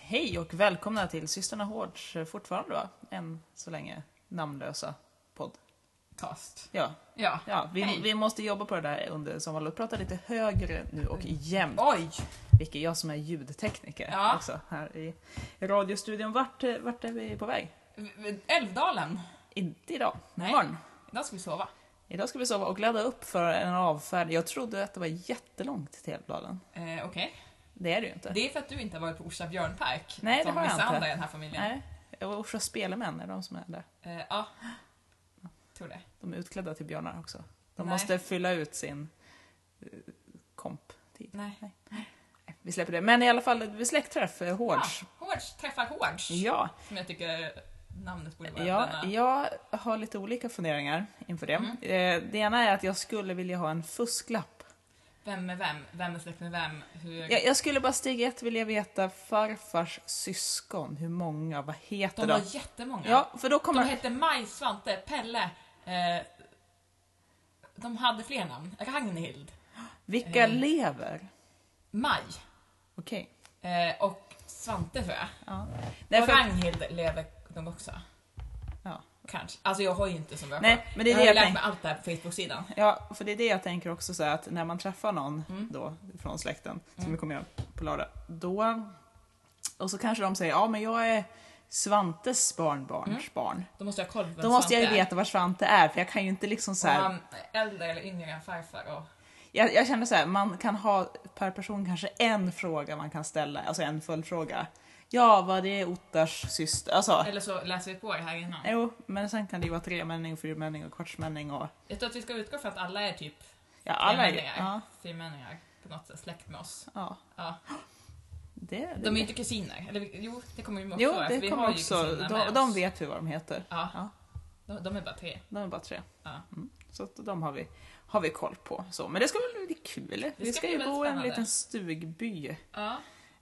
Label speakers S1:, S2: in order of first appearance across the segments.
S1: Hej och välkomna till Systrarna Hårds eh, fortfarande va? Än så länge namnlösa podcast.
S2: Kast.
S1: Ja,
S2: Ja.
S1: ja vi,
S2: Hej.
S1: vi måste jobba på det där under sommarlovet. Prata lite högre nu och jämnt.
S2: Oj!
S1: Vilket jag som är ljudtekniker
S2: Mm. Ja.
S1: också här i radiostudion. Vart, eh, vart är vi på väg?
S2: Älvdalen.
S1: Inte idag,
S2: Nej.
S1: imorgon.
S2: Idag ska vi sova.
S1: Idag ska vi sova och ladda upp för en avfärd. Jag trodde att det var jättelångt till Älvdalen.
S2: Eh, Okej.
S1: Det är det ju inte.
S2: Det är för att du inte har varit på Orsa björnpark.
S1: Nej, det
S2: som
S1: har jag
S2: vissa
S1: inte.
S2: andra i den här familjen.
S1: Nej, och Orsa Spelemän är de som är där.
S2: Eh, ja. Tror det.
S1: De är utklädda till björnar också. De
S2: Nej.
S1: måste fylla ut sin eh, komptid.
S2: Nej.
S1: Nej, Vi släpper det. Men i alla fall, vi släktträff, eh, Hårds.
S2: Ah, Hårds träffar Hårds.
S1: Ja,
S2: Som jag tycker namnet borde vara.
S1: ja,
S2: denna.
S1: jag har lite olika funderingar inför det.
S2: Mm.
S1: Eh, Det ena är att jag skulle vilja ha en fusklapp.
S2: Vem med vem? Vem är släkt med vem? Hur...
S1: Jag, jag skulle bara steg ett vilja veta farfars syskon, hur många, vad heter
S2: De
S1: de?
S2: var jättemånga.
S1: Ja, för då kommer...
S2: De hette Maj, Svante, Pelle. Eh, de hade fler namn. Ragnhild,
S1: Vilka lever?
S2: Maj
S1: Okej.
S2: eh, och Svante tror jag.
S1: Ja.
S2: och
S1: Därför-
S2: Ragnhild lever de också.
S1: Ja.
S2: Kanske. Alltså jag har ju inte så bra
S1: Nej,
S2: koll.
S1: men det är
S2: jag
S1: det
S2: har
S1: jag
S2: ju lärt
S1: tänker.
S2: mig allt det här på Facebook-sidan.
S1: Ja, för det är det jag tänker också så här, att när man träffar någon
S2: Mm.
S1: då från släkten, som vi kommer göra på lördag, då, och så kanske de säger ja men jag är Svantes barnbarns barn.
S2: Då måste jag ha koll på Mm. vem
S1: Då måste jag ju
S2: Svante är.
S1: veta var Svante är för jag kan ju inte liksom så här,
S2: Om han är äldre eller yngre än farfar. Och...
S1: jag, jag känner så här, man kan ha per person kanske en fråga man kan ställa, alltså en följdfråga. Ja, vad det är Ottars syster, alltså.
S2: Eller så läser vi på det här innan.
S1: Jo, men sen kan det ju vara tremänning, fyrmänning och kvartsmänning och
S2: Jag tror att vi ska utgå från att alla är typ
S1: ja, alla är ju-
S2: tremänningar.
S1: ja,
S2: Fyrmänningar. På något sätt släkt med oss.
S1: ja,
S2: Ja.
S1: det, det
S2: De är ju inte kusiner. Eller, vi- jo, det kommer vi också
S1: Jo,
S2: vara, för
S1: det
S2: vi
S1: kommer
S2: har ju
S1: också.
S2: kusiner med
S1: De,
S2: oss.
S1: de vet ju vad de heter.
S2: Ja.
S1: Ja.
S2: De, de är bara tre.
S1: De är bara tre.
S2: Ja.
S1: Mm. Så att de har vi, har vi koll på. Så, men det ska väl bli kul. vi
S2: ska
S1: ska
S2: bli
S1: ju
S2: väldigt
S1: bo i en
S2: spännande.
S1: liten stugby.
S2: Ja.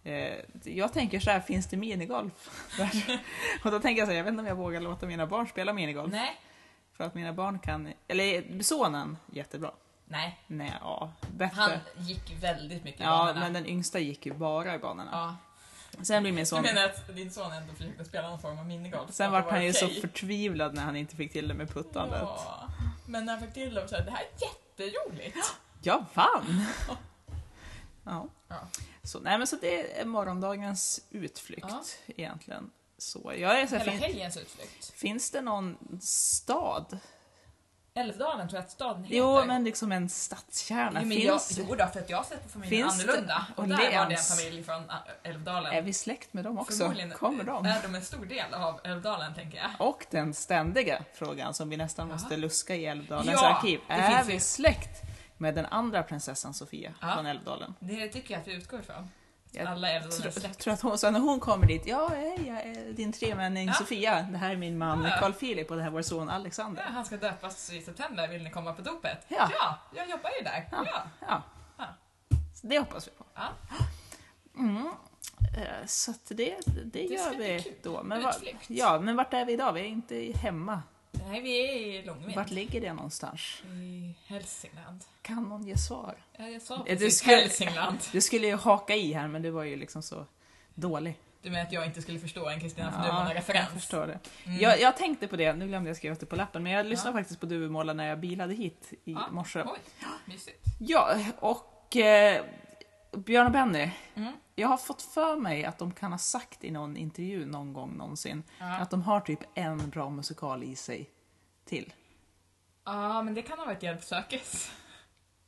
S1: Eh, jag tänker så här, finns det minigolf? där? Och då tänker jag så här, jag vet inte om jag vågar låta mina barn spela minigolf.
S2: Nej.
S1: För att mina barn kan, eller sonen, jättebra.
S2: Nej.
S1: Nej, ja, bättre.
S2: Han gick väldigt mycket i
S1: ja,
S2: banorna.
S1: men den yngsta gick ju bara i banorna.
S2: Ja.
S1: Sen blir min
S2: Du
S1: son...
S2: menar att din son ändå försökte spela någon form av minigolf?
S1: Sen
S2: Att
S1: vart
S2: det
S1: han ju så
S2: okej?
S1: förtvivlad när han inte fick till det med puttandet.
S2: Ja. Men när han fick till det och sa det här är jätteroligt.
S1: Jag vann! ja.
S2: Ja.
S1: Så, nej, men så det är morgondagens utflykt
S2: Ja.
S1: egentligen. Så, jag är så här,
S2: Hela
S1: fin,
S2: helgens utflykt.
S1: finns det någon stad?
S2: Älvdalen tror jag att staden heter.
S1: Jo, men liksom en stadskärna.
S2: Jo, men jag,
S1: finns,
S2: jo då, för att jag har sett på familjen
S1: Finns det-
S2: annorlunda. Och,
S1: och
S2: där var det en
S1: Lens?
S2: familj från Ä- Älvdalen.
S1: Är vi släkt med dem också?
S2: Förmodligen Äh.
S1: Kommer de?
S2: är de en stor del av Älvdalen tänker jag.
S1: Och den ständiga frågan som vi nästan
S2: Ja.
S1: måste luska i Älvdalens
S2: Ja,
S1: arkiv.
S2: det
S1: Är
S2: finns
S1: vi
S2: ju.
S1: släkt med den andra prinsessan Sofia
S2: Ja.
S1: från Älvdalen?
S2: Det tycker jag att vi utgår ifrån.
S1: Jag
S2: Alla
S1: Tror,
S2: Älvdalens släkt.
S1: tror att hon, så när hon kommer dit, ja, hej, jag är din tremänning
S2: Ja.
S1: Sofia, det här är min man
S2: Ja.
S1: Carl Philip och det här är vår son
S2: Ja,
S1: Alexander.
S2: han ska döpas i september, vill ni komma på dopet?
S1: Ja.
S2: jag jobbar ju där. Ja.
S1: Ja.
S2: Ja.
S1: Så det hoppas vi på.
S2: Ja.
S1: Mm. Eh, Så att det, det, gör
S2: ska bli
S1: vi
S2: kul.
S1: då. Men var,
S2: Utflykt.
S1: ja, men vart är vi idag? Vi är inte hemma.
S2: Nej, vi är i Långvind.
S1: Vart ligger det någonstans?
S2: I Hälsingland.
S1: Kan någon ge svar?
S2: Ja, Jag sa
S1: Eh,
S2: precis
S1: skulle-
S2: Hälsingland.
S1: Du skulle ju haka i här, men du var ju liksom så dålig.
S2: Du menar att jag inte skulle förstå en Kristina von
S1: Ja, jag
S2: Duvemåla-referens?
S1: förstår det.
S2: Mm.
S1: Jag, jag tänkte på det, nu glömde jag skriva upp det på lappen, men jag lyssnade
S2: Ja.
S1: faktiskt på Duvemåla när jag bilade hit i
S2: Ja,
S1: morse.
S2: Oj, mysigt.
S1: Ja, och eh, Björn och Benny.
S2: Mm.
S1: Jag har fått för mig att de kan ha sagt i någon intervju någon gång någonsin
S2: Ja.
S1: att de har typ en bra musikal i sig till.
S2: Ja, men det kan ha varit Hjälp sökes.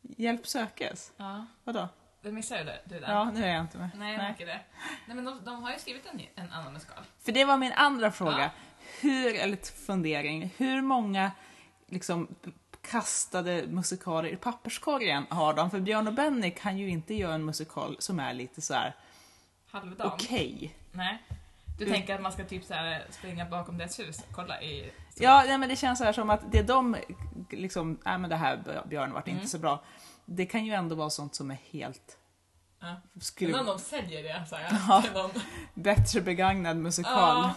S1: Hjälp sökes?
S2: Ja.
S1: Vadå?
S2: Det missade du, du den?
S1: Ja, nu är jag inte med.
S2: Nej, jag märker det. Nej, men de, de har ju skrivit en, ny- en annan musikal.
S1: För det var min andra fråga.
S2: Ja.
S1: Hur, eller ett fundering, hur många liksom p- kastade musikaler i papperskorgen har de? För Björn och Benny kan ju inte göra en musikal som är lite så här
S2: Halvdan.
S1: okej.
S2: Nej. Du
S1: Mm.
S2: tänker att man ska typ så här springa bakom deras hus och kolla i...
S1: Ja, nej, men det känns så här som att det de liksom, nej men det här Björn vart
S2: Mm.
S1: inte så bra. Det kan ju ändå vara sånt som är helt
S2: Ja.
S1: skruv,
S2: Undrar om de säljer det så här,
S1: Ja.
S2: till någon.
S1: bättre begagnad musikal.
S2: Ja.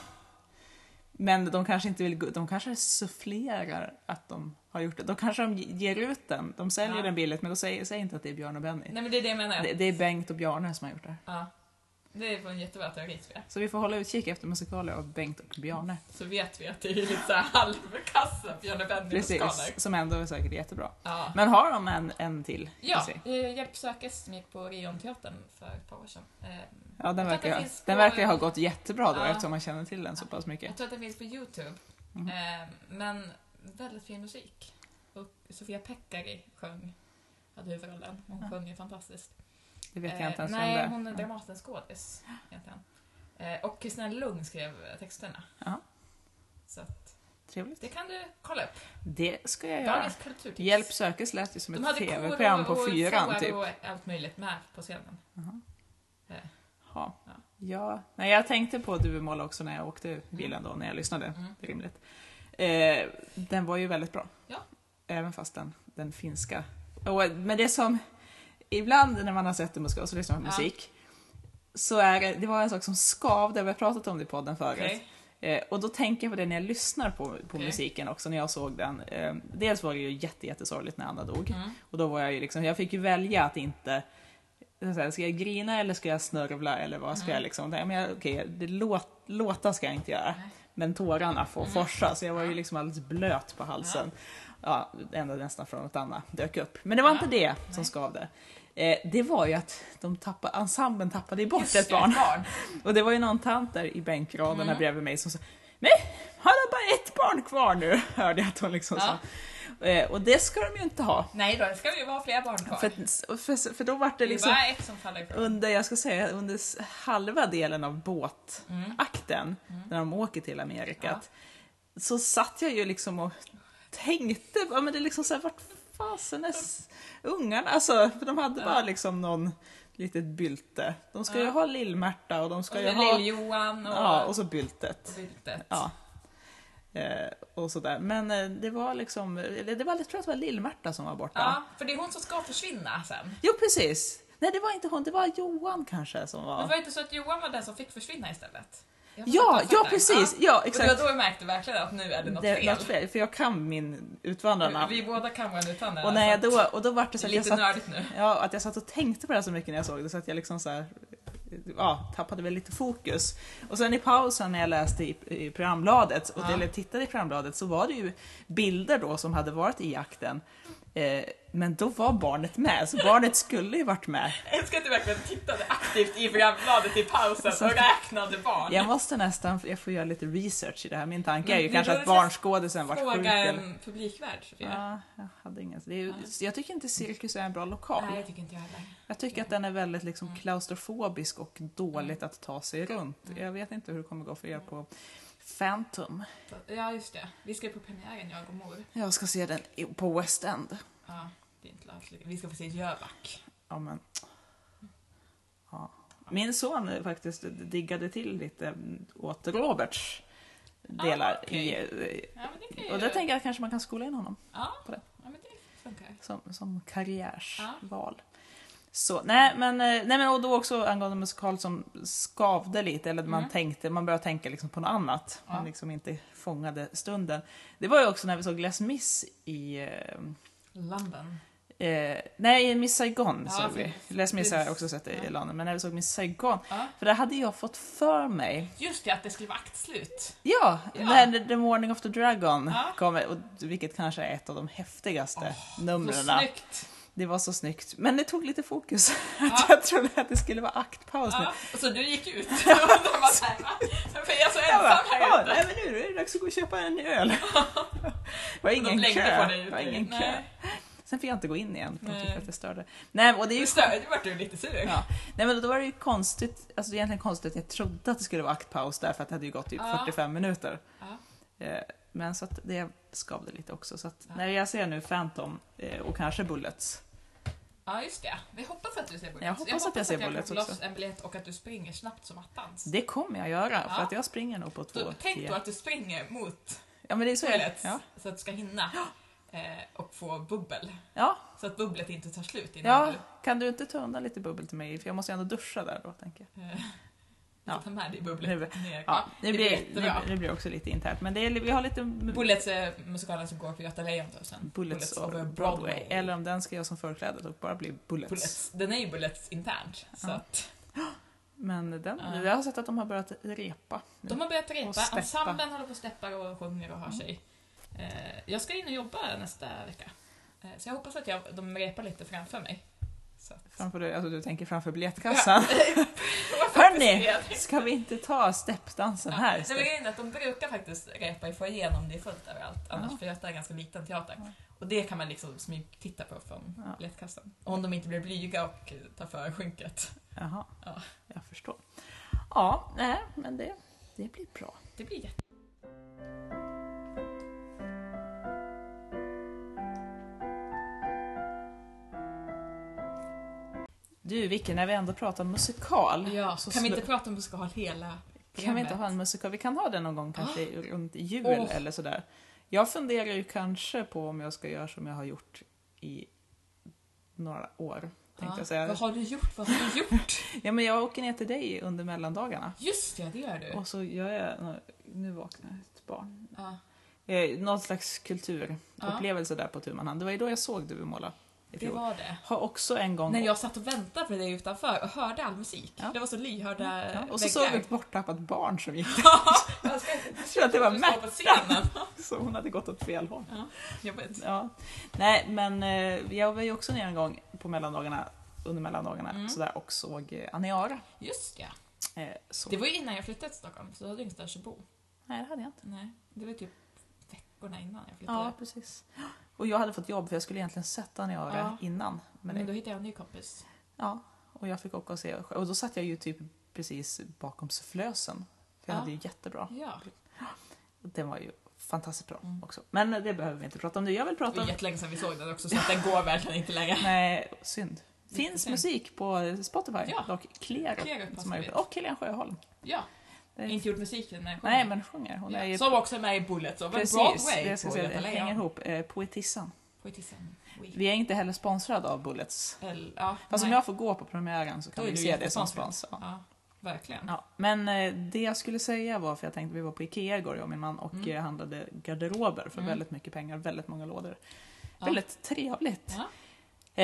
S1: Men de kanske inte vill, gå- de kanske sufflerar att de har gjort det. Då kanske de ger ut den, de säljer
S2: Ja.
S1: den billigt, men då säger, säger inte att det är Björn och Benny.
S2: Nej men det är det jag menar.
S1: Det, det är Bengt och Bjarne som har gjort det.
S2: Ja. Det är på en jättebra teori tror jag.
S1: Så vi får hålla utkik efter musikaler av Bengt och Bjarne.
S2: Så vet vi att det är lite såhär halvkassa Björne Benny-skalor.
S1: Precis, som ändå är säkert jättebra.
S2: Ja,
S1: Men har de en, en till? Ska
S2: ja
S1: se.
S2: eh, Hjälp sökes som gick på Rionteatern för ett par år sedan. Eh,
S1: ja den,
S2: Jag tror att
S1: verkar,
S2: den
S1: ju-
S2: finns på-
S1: den verkar ju ha gått jättebra då
S2: Ja.
S1: eftersom man känner till den så pass mycket.
S2: Jag tror att den finns på Youtube.
S1: Mhm.
S2: Eh, men väldigt fin musik. Och Sofia Pekkari sjöng, hade huvudrollen. Hon
S1: Ja.
S2: sjöng ju fantastiskt.
S1: Det vet jag inte ens
S2: Eh, nej,
S1: vem det
S2: hon är Dramatenskådis egentligen. Eh, och Kristina Lugn skrev texterna.
S1: Ja.
S2: Så att,
S1: Trevligt.
S2: det kan du kolla upp.
S1: Det ska jag göra.
S2: Dagens kulturtips.
S1: Hjälp sökes lät ju som
S2: De
S1: ett
S2: hade
S1: tv-program på
S2: och
S1: fyran
S2: shower
S1: typ.
S2: och allt möjligt med på scenen.
S1: Jaha.
S2: Eh,
S1: Ja.
S2: Ja.
S1: Ja. Nej, jag tänkte på Duvemåla också när jag åkte i bilen då, när jag lyssnade.
S2: Mm.
S1: Det är rimligt. Eh, den var ju väldigt bra.
S2: Ja.
S1: Även fast den, den finska... Och, men det som... Ibland när man har sett en musikal så lyssnar man på
S2: Ja.
S1: musik. Så är det, det var en sak som skavde, vi har pratat om det i podden förut.
S2: okej.
S1: Eh, och då tänker jag på det när jag lyssnar på, på
S2: Okej.
S1: musiken också, när jag såg den. Eh, dels var det ju jätte, jättesorgligt när Anna dog.
S2: Mm.
S1: Och då var jag ju liksom, jag fick ju välja att inte så här, ska jag grina eller ska jag snörvla eller vad ska
S2: Mm.
S1: jag liksom? Nej, men jag, okej, det låt, låta ska jag inte göra.
S2: Nej.
S1: Men tårarna får
S2: Mm.
S1: forsa, så jag var ju liksom alldeles blöt på halsen. Ja, ända nästan från att Anna dök upp. Men det var
S2: Ja.
S1: inte det som
S2: Nej.
S1: skavde. Eh, det var ju att de tappade, ensemblen tappade ju bort
S2: Just
S1: ett
S2: det,
S1: barn. Och det var ju någon tant där i bänkraderna
S2: Mm.
S1: bredvid mig som sa Nej, har de bara ett barn kvar nu? Hörde jag att hon liksom
S2: Ja.
S1: sa. Eh, och det ska de ju inte ha.
S2: Nej då, det ska ju vara flera barn kvar.
S1: För,
S2: För,
S1: för, för då var
S2: det
S1: det
S2: är
S1: liksom
S2: bara ett som faller ifrån.
S1: under, jag ska säga, under s- halva delen av båtakten,
S2: Mm.
S1: när de åker till Amerika,
S2: Ja.
S1: att- så satt jag ju liksom och tänkte, ja men det är liksom såhär, vart fasen är s- ungarna? Alltså, för de hade
S2: Ja.
S1: bara liksom någon litet bylte. De ska ju
S2: Ja.
S1: ha Lill-Märta och de ska
S2: Och
S1: ju ha...
S2: Lill-Johan och...
S1: Ja, och så byltet.
S2: och Viltet.
S1: Ja. Eh, och sådär. Men eh, det var liksom, eller det var, jag tror att det var Lill-Märta som var borta.
S2: Ja, för det är hon som ska försvinna sen.
S1: Jo, precis. Nej, det var inte hon, det var Johan kanske som
S2: Men
S1: var...
S2: var det inte så att Johan var den som fick försvinna istället? Jag har
S1: Ja,
S2: fattat
S1: ja
S2: det.
S1: precis!
S2: Ja.
S1: Ja,
S2: Och
S1: exakt.
S2: det var då vi märkte verkligen att nu är det något
S1: Det är
S2: fel.
S1: något fel, för jag kan min Utvandrarna.
S2: Vi båda kan vara utan
S1: Och, när jag då, och då var det så
S2: Det är
S1: att jag,
S2: lite
S1: satt,
S2: nördigt nu.
S1: ja, att jag satt och tänkte på det här så mycket när jag såg det så att jag liksom så här, ja, tappade väl lite fokus. Och sen i pausen när jag läste i, i programbladet, och,
S2: Ja.
S1: eller tittade i programbladet, så var det ju bilder då som hade varit i jakten. Eh, men då var barnet med, så barnet skulle ju varit med.
S2: Jag älskar att du verkligen tittade aktivt i programbladet i pausen
S1: Så-
S2: och räknade barn.
S1: Jag måste nästan, jag får göra lite research i det här. Min tanke är ju
S2: Men-
S1: kanske
S2: Mm, men
S1: att
S2: då är det så-
S1: barnskådisen varit sjuk.
S2: Fråga
S1: Eller...
S2: en publikvärd, Sofia.
S1: Ja, jag hade ingen. Det är ju,
S2: Nej.
S1: jag tycker inte cirkus är en bra lokal.
S2: Nej, det tycker inte jag heller.
S1: Jag tycker att den är väldigt liksom
S2: Mm.
S1: klaustrofobisk och dåligt att ta sig runt.
S2: Mm.
S1: Jag vet inte hur det kommer gå för er på Phantom.
S2: Ja, just det. Vi ska ju på premiären, jag och mor.
S1: Jag ska se den i- på West End.
S2: Ja, det är inte lagligt. Vi ska få se Jöback.
S1: Ja, men. Ja. Min son faktiskt diggade till lite mm, åt Roberts delar.
S2: Ah, okej.
S1: i,
S2: Ja, men det kan ju...
S1: och då tänker jag att kanske man kan skola in honom
S2: Ja,
S1: på det.
S2: ja men det funkar.
S1: som, som karriärsval. Så, nej, men, eh, nej men och då också angående musikal som skavde lite, eller man
S2: Mm.
S1: tänkte, man började tänka liksom på något annat.
S2: Ja.
S1: Man liksom inte fångade stunden. Det var ju också när vi såg Les Mis i, eh,
S2: London.
S1: eh, nej Miss Saigon
S2: Ja,
S1: såg vi.
S2: precis.
S1: Les Mis har jag också sett i
S2: Ja.
S1: London, men när vi såg Miss Saigon,
S2: Ja.
S1: för det hade jag fått för mig.
S2: Just det, att det skulle vara aktslut.
S1: Ja,
S2: Ja.
S1: när The Morning of the Dragon
S2: Ja.
S1: kom, och, vilket kanske är ett av de häftigaste numren.
S2: Så snyggt!
S1: Det var så snyggt, men det tog lite fokus.
S2: Ja.
S1: jag trodde att det skulle vara aktpaus nu.
S2: Ja, och så du gick ut. Och de bara såhär, va? Varför är jag så
S1: Jag bara,
S2: ensam här
S1: "Ja,
S2: ute?
S1: nej men nu är det dags att gå och köpa en öl. det var
S2: Och
S1: ingen
S2: de
S1: kö.
S2: längde på dig
S1: Det
S2: ute.
S1: var ingen kö.
S2: Nej,
S1: Sen fick jag inte gå in igen för de tyckte
S2: Nej.
S1: att jag störde. Nej, och det är ju
S2: Du störde, vart du lite sur.
S1: Ja. Nej men då var det ju konstigt, alltså det är egentligen konstigt att jag trodde att det skulle vara aktpaus där för att det hade ju gått typ
S2: Ja.
S1: 45 minuter.
S2: Ja.
S1: Eh, Men så att det skavde lite också. Så att
S2: Ja.
S1: när jag ser nu Phantom eh, och kanske Bullets.
S2: Ja, just det. Vi hoppas att du ser Bullets.
S1: Jag hoppas att jag ser Bullets
S2: kan få loss
S1: också.
S2: en biljett och att du springer snabbt som attans.
S1: Det kommer jag göra för
S2: Ja.
S1: att jag springer nog på två
S2: Så tänk då
S1: tio.
S2: att du springer mot
S1: Ja men det är så jag...
S2: Bullets
S1: Ja.
S2: så att du ska hinna eh, och få bubbel.
S1: ja,
S2: Så att bubblet inte tar slut innan
S1: Ja, kan du inte ta undan lite bubbel till mig? För jag måste ju ändå duscha där då, tänker jag.
S2: du eh,
S1: Ja.
S2: tar med dig
S1: Nu-
S2: bubblet ner.
S1: Ja,
S2: det
S1: det blir,
S2: blir
S1: det,
S2: jättebra.
S1: det blir också lite internt, men det är, vi har lite...
S2: Bullets är musikalen som går på Göta Lejontorp sen.
S1: Bullets och Broadway. Eller om den ska göra som förklädet och bara bli Bullets.
S2: Bullets. Den är ju Bullets internt. Så
S1: Ja.
S2: att,
S1: Men den,
S2: Ja.
S1: jag har sett att de har börjat repa. Nu.
S2: De har börjat
S1: Mm. Och
S2: repa,
S1: steppa. Mm.
S2: ensemblen håller på och steppar och sjunger och har sig. Eh, jag ska in och jobba nästa vecka. Eh, så jag hoppas att jag, de repar lite framför mig. Så. att-
S1: Framför dig, alltså du tänker framför biljettkassan.
S2: Det var faktiskt
S1: Hörni,
S2: det.
S1: ska vi inte ta steppdansen här
S2: Ja. Nej, men
S1: istället?
S2: grejen är att de brukar faktiskt repa i foajén om det är fullt överallt. Annars,
S1: Ja.
S2: för Göta är ganska liten teater.
S1: Ja.
S2: Och det kan man liksom smygtitta på från
S1: Ja.
S2: biljettkassan. Om de inte blir blyga och eh, tar för skynket.
S1: Jaha,
S2: Ja.
S1: jag förstår. Ja, nej, men det, det blir bra.
S2: Det blir jätte...
S1: Du Vicky, när vi ändå pratar musikal.
S2: Ja,
S1: så
S2: kan vi
S1: slu-
S2: inte prata om musikal hela
S1: kan vi inte
S2: programmet?
S1: ha en musikal? Vi kan ha den någon gång kanske runt jul
S2: Ah. Åh.
S1: eller sådär. Jag funderar ju kanske på om jag ska göra som jag har gjort i några år. Tänkte
S2: Ja.
S1: jag säga.
S2: Ah. Vad har du gjort? Vad har du gjort?
S1: Ja, men jag åker ner till dig under mellandagarna.
S2: Just ja, det gör du.
S1: Och så gör jag, nu vaknar ett barn.
S2: Ja.
S1: Eh, någon slags kulturupplevelse där på tu man hand. Det var ju då jag såg du måla i
S2: Ah. Det
S1: fjol.
S2: var det.
S1: Har också en gång...
S2: När jag satt och väntade på dig utanför och hörde all musik.
S1: Ja.
S2: Det var så lyhörda
S1: ja,
S2: väggar.
S1: och så såg vi ett borttappat barn som gick.
S2: Jag ska inte
S1: Jag tror att det var
S2: tro att du
S1: Märta,
S2: står på scenen.
S1: så hon hade gått åt fel håll.
S2: Jobbigt.
S1: Ja. Nej, men eh, jag var ju också ner en gång på mellandagarna, under mellandagarna
S2: Mm.
S1: sådär, och såg eh, Aniara.
S2: Just ja.
S1: Eh, så.
S2: Det var ju innan jag flyttade till Stockholm, så då hade jag ingenstans att bo.
S1: Nej, det hade jag inte.
S2: Nej, det var typ veckorna innan jag flyttade.
S1: Ja, precis. Och jag hade fått jobb för jag skulle egentligen sett Aniara
S2: Ja.
S1: innan.
S2: men,
S1: Men det
S2: då hittade jag en ny kompis.
S1: Ja, och jag fick åka och se. Och då satt jag ju typ precis bakom sufflösen. För jag
S2: Ja.
S1: hade ju jättebra.
S2: Ja,
S1: Den var ju fantastiskt bra
S2: Mm.
S1: också. Men det behöver vi inte prata om nu. Jag vill
S2: det
S1: prata
S2: var
S1: om...
S2: jättelänge sedan vi såg den också så att den går verkligen inte längre.
S1: Nej, synd. Finns
S2: Jättesynd.
S1: musik på Spotify,
S2: Ja.
S1: dock Klero.
S2: Klero
S1: som har gjort,
S2: passar
S1: det. och Helene Sjöholm.
S2: Ja,
S1: Det är-
S2: inte gjort musiken när jag kom.
S1: Nej, men sjunger. Hon är
S2: Ja.
S1: ju...
S2: Som också är med i Bullet, som
S1: Precis,
S2: Broadway
S1: det jag ska
S2: på
S1: säga.
S2: Göta
S1: Det hänger
S2: Lejon.
S1: ihop. Eh, Poetissan.
S2: Poetisen.
S1: Vi är inte heller sponsrade av Bullets.
S2: Eller, ja,
S1: Fast om
S2: nej.
S1: jag får gå på premiären så kan
S2: Då
S1: vi
S2: är du
S1: se det som
S2: jättesponsrad.
S1: sponsor.
S2: Ja, verkligen.
S1: Ja, men eh, det jag skulle säga var, för jag tänkte vi var på Ikea igår jag och min man och
S2: Mm.
S1: eh, handlade garderober för
S2: Mm.
S1: väldigt mycket pengar, väldigt många lådor.
S2: Ja.
S1: Väldigt trevligt.
S2: Ja.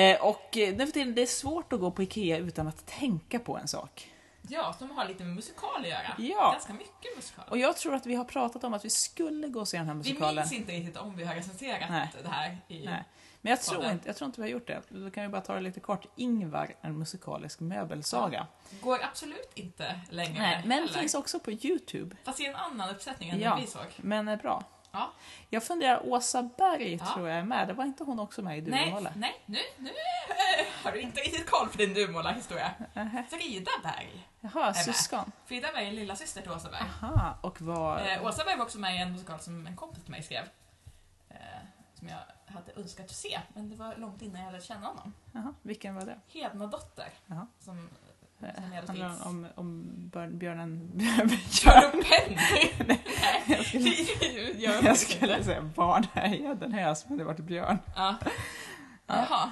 S1: Eh, och eh, nu för tiden, det är svårt att gå på Ikea utan att tänka på en sak.
S2: Ja, som har lite med musikal att göra.
S1: Ja.
S2: Ganska mycket musikal.
S1: Och jag tror att vi har pratat om att vi skulle gå och se den här
S2: Vi
S1: musikalen.
S2: minns inte riktigt om vi har recenserat
S1: Nej.
S2: det här i...
S1: Nej. Men jag tror,
S2: Podden.
S1: inte, jag tror inte vi har gjort det. Då kan vi bara ta det lite kort. Ingvar, en musikalisk möbelsaga.
S2: Går absolut inte längre.
S1: Nej, men
S2: heller.
S1: finns också på Youtube.
S2: Fast i en annan uppsättning än
S1: Ja.
S2: den vi såg.
S1: Men är bra.
S2: Ja.
S1: Jag funderar, Åsa Berg
S2: Ja.
S1: tror jag är med. Det var inte hon också med i
S2: Nej,
S1: Duvemåla?
S2: nej, nu, nu eh, har du inte riktigt koll på din Duvemåla-historia.
S1: Nähä.
S2: Frida Berg.
S1: Jaha,
S2: med.
S1: syskon.
S2: Frida Berg är lillasyster till Åsa Berg.
S1: Aha, och var...
S2: Eh, Åsa Berg var också med i en musikal som en kompis till mig skrev. Eh, som jag hade önskat att se, men det var långt innan jag lärde känna honom.
S1: Jaha, vilken var det?
S2: Hednadotter.
S1: Jaha.
S2: Som,
S1: Eh,
S2: som hade
S1: Handlar
S2: skrivits.
S1: den om, om björn- björnen...
S2: Gör upp Henry!
S1: jag skulle,
S2: Nej, gör upp
S1: jag skulle säga barnhöjden hös, men det var björn.
S2: Ja. Jaha.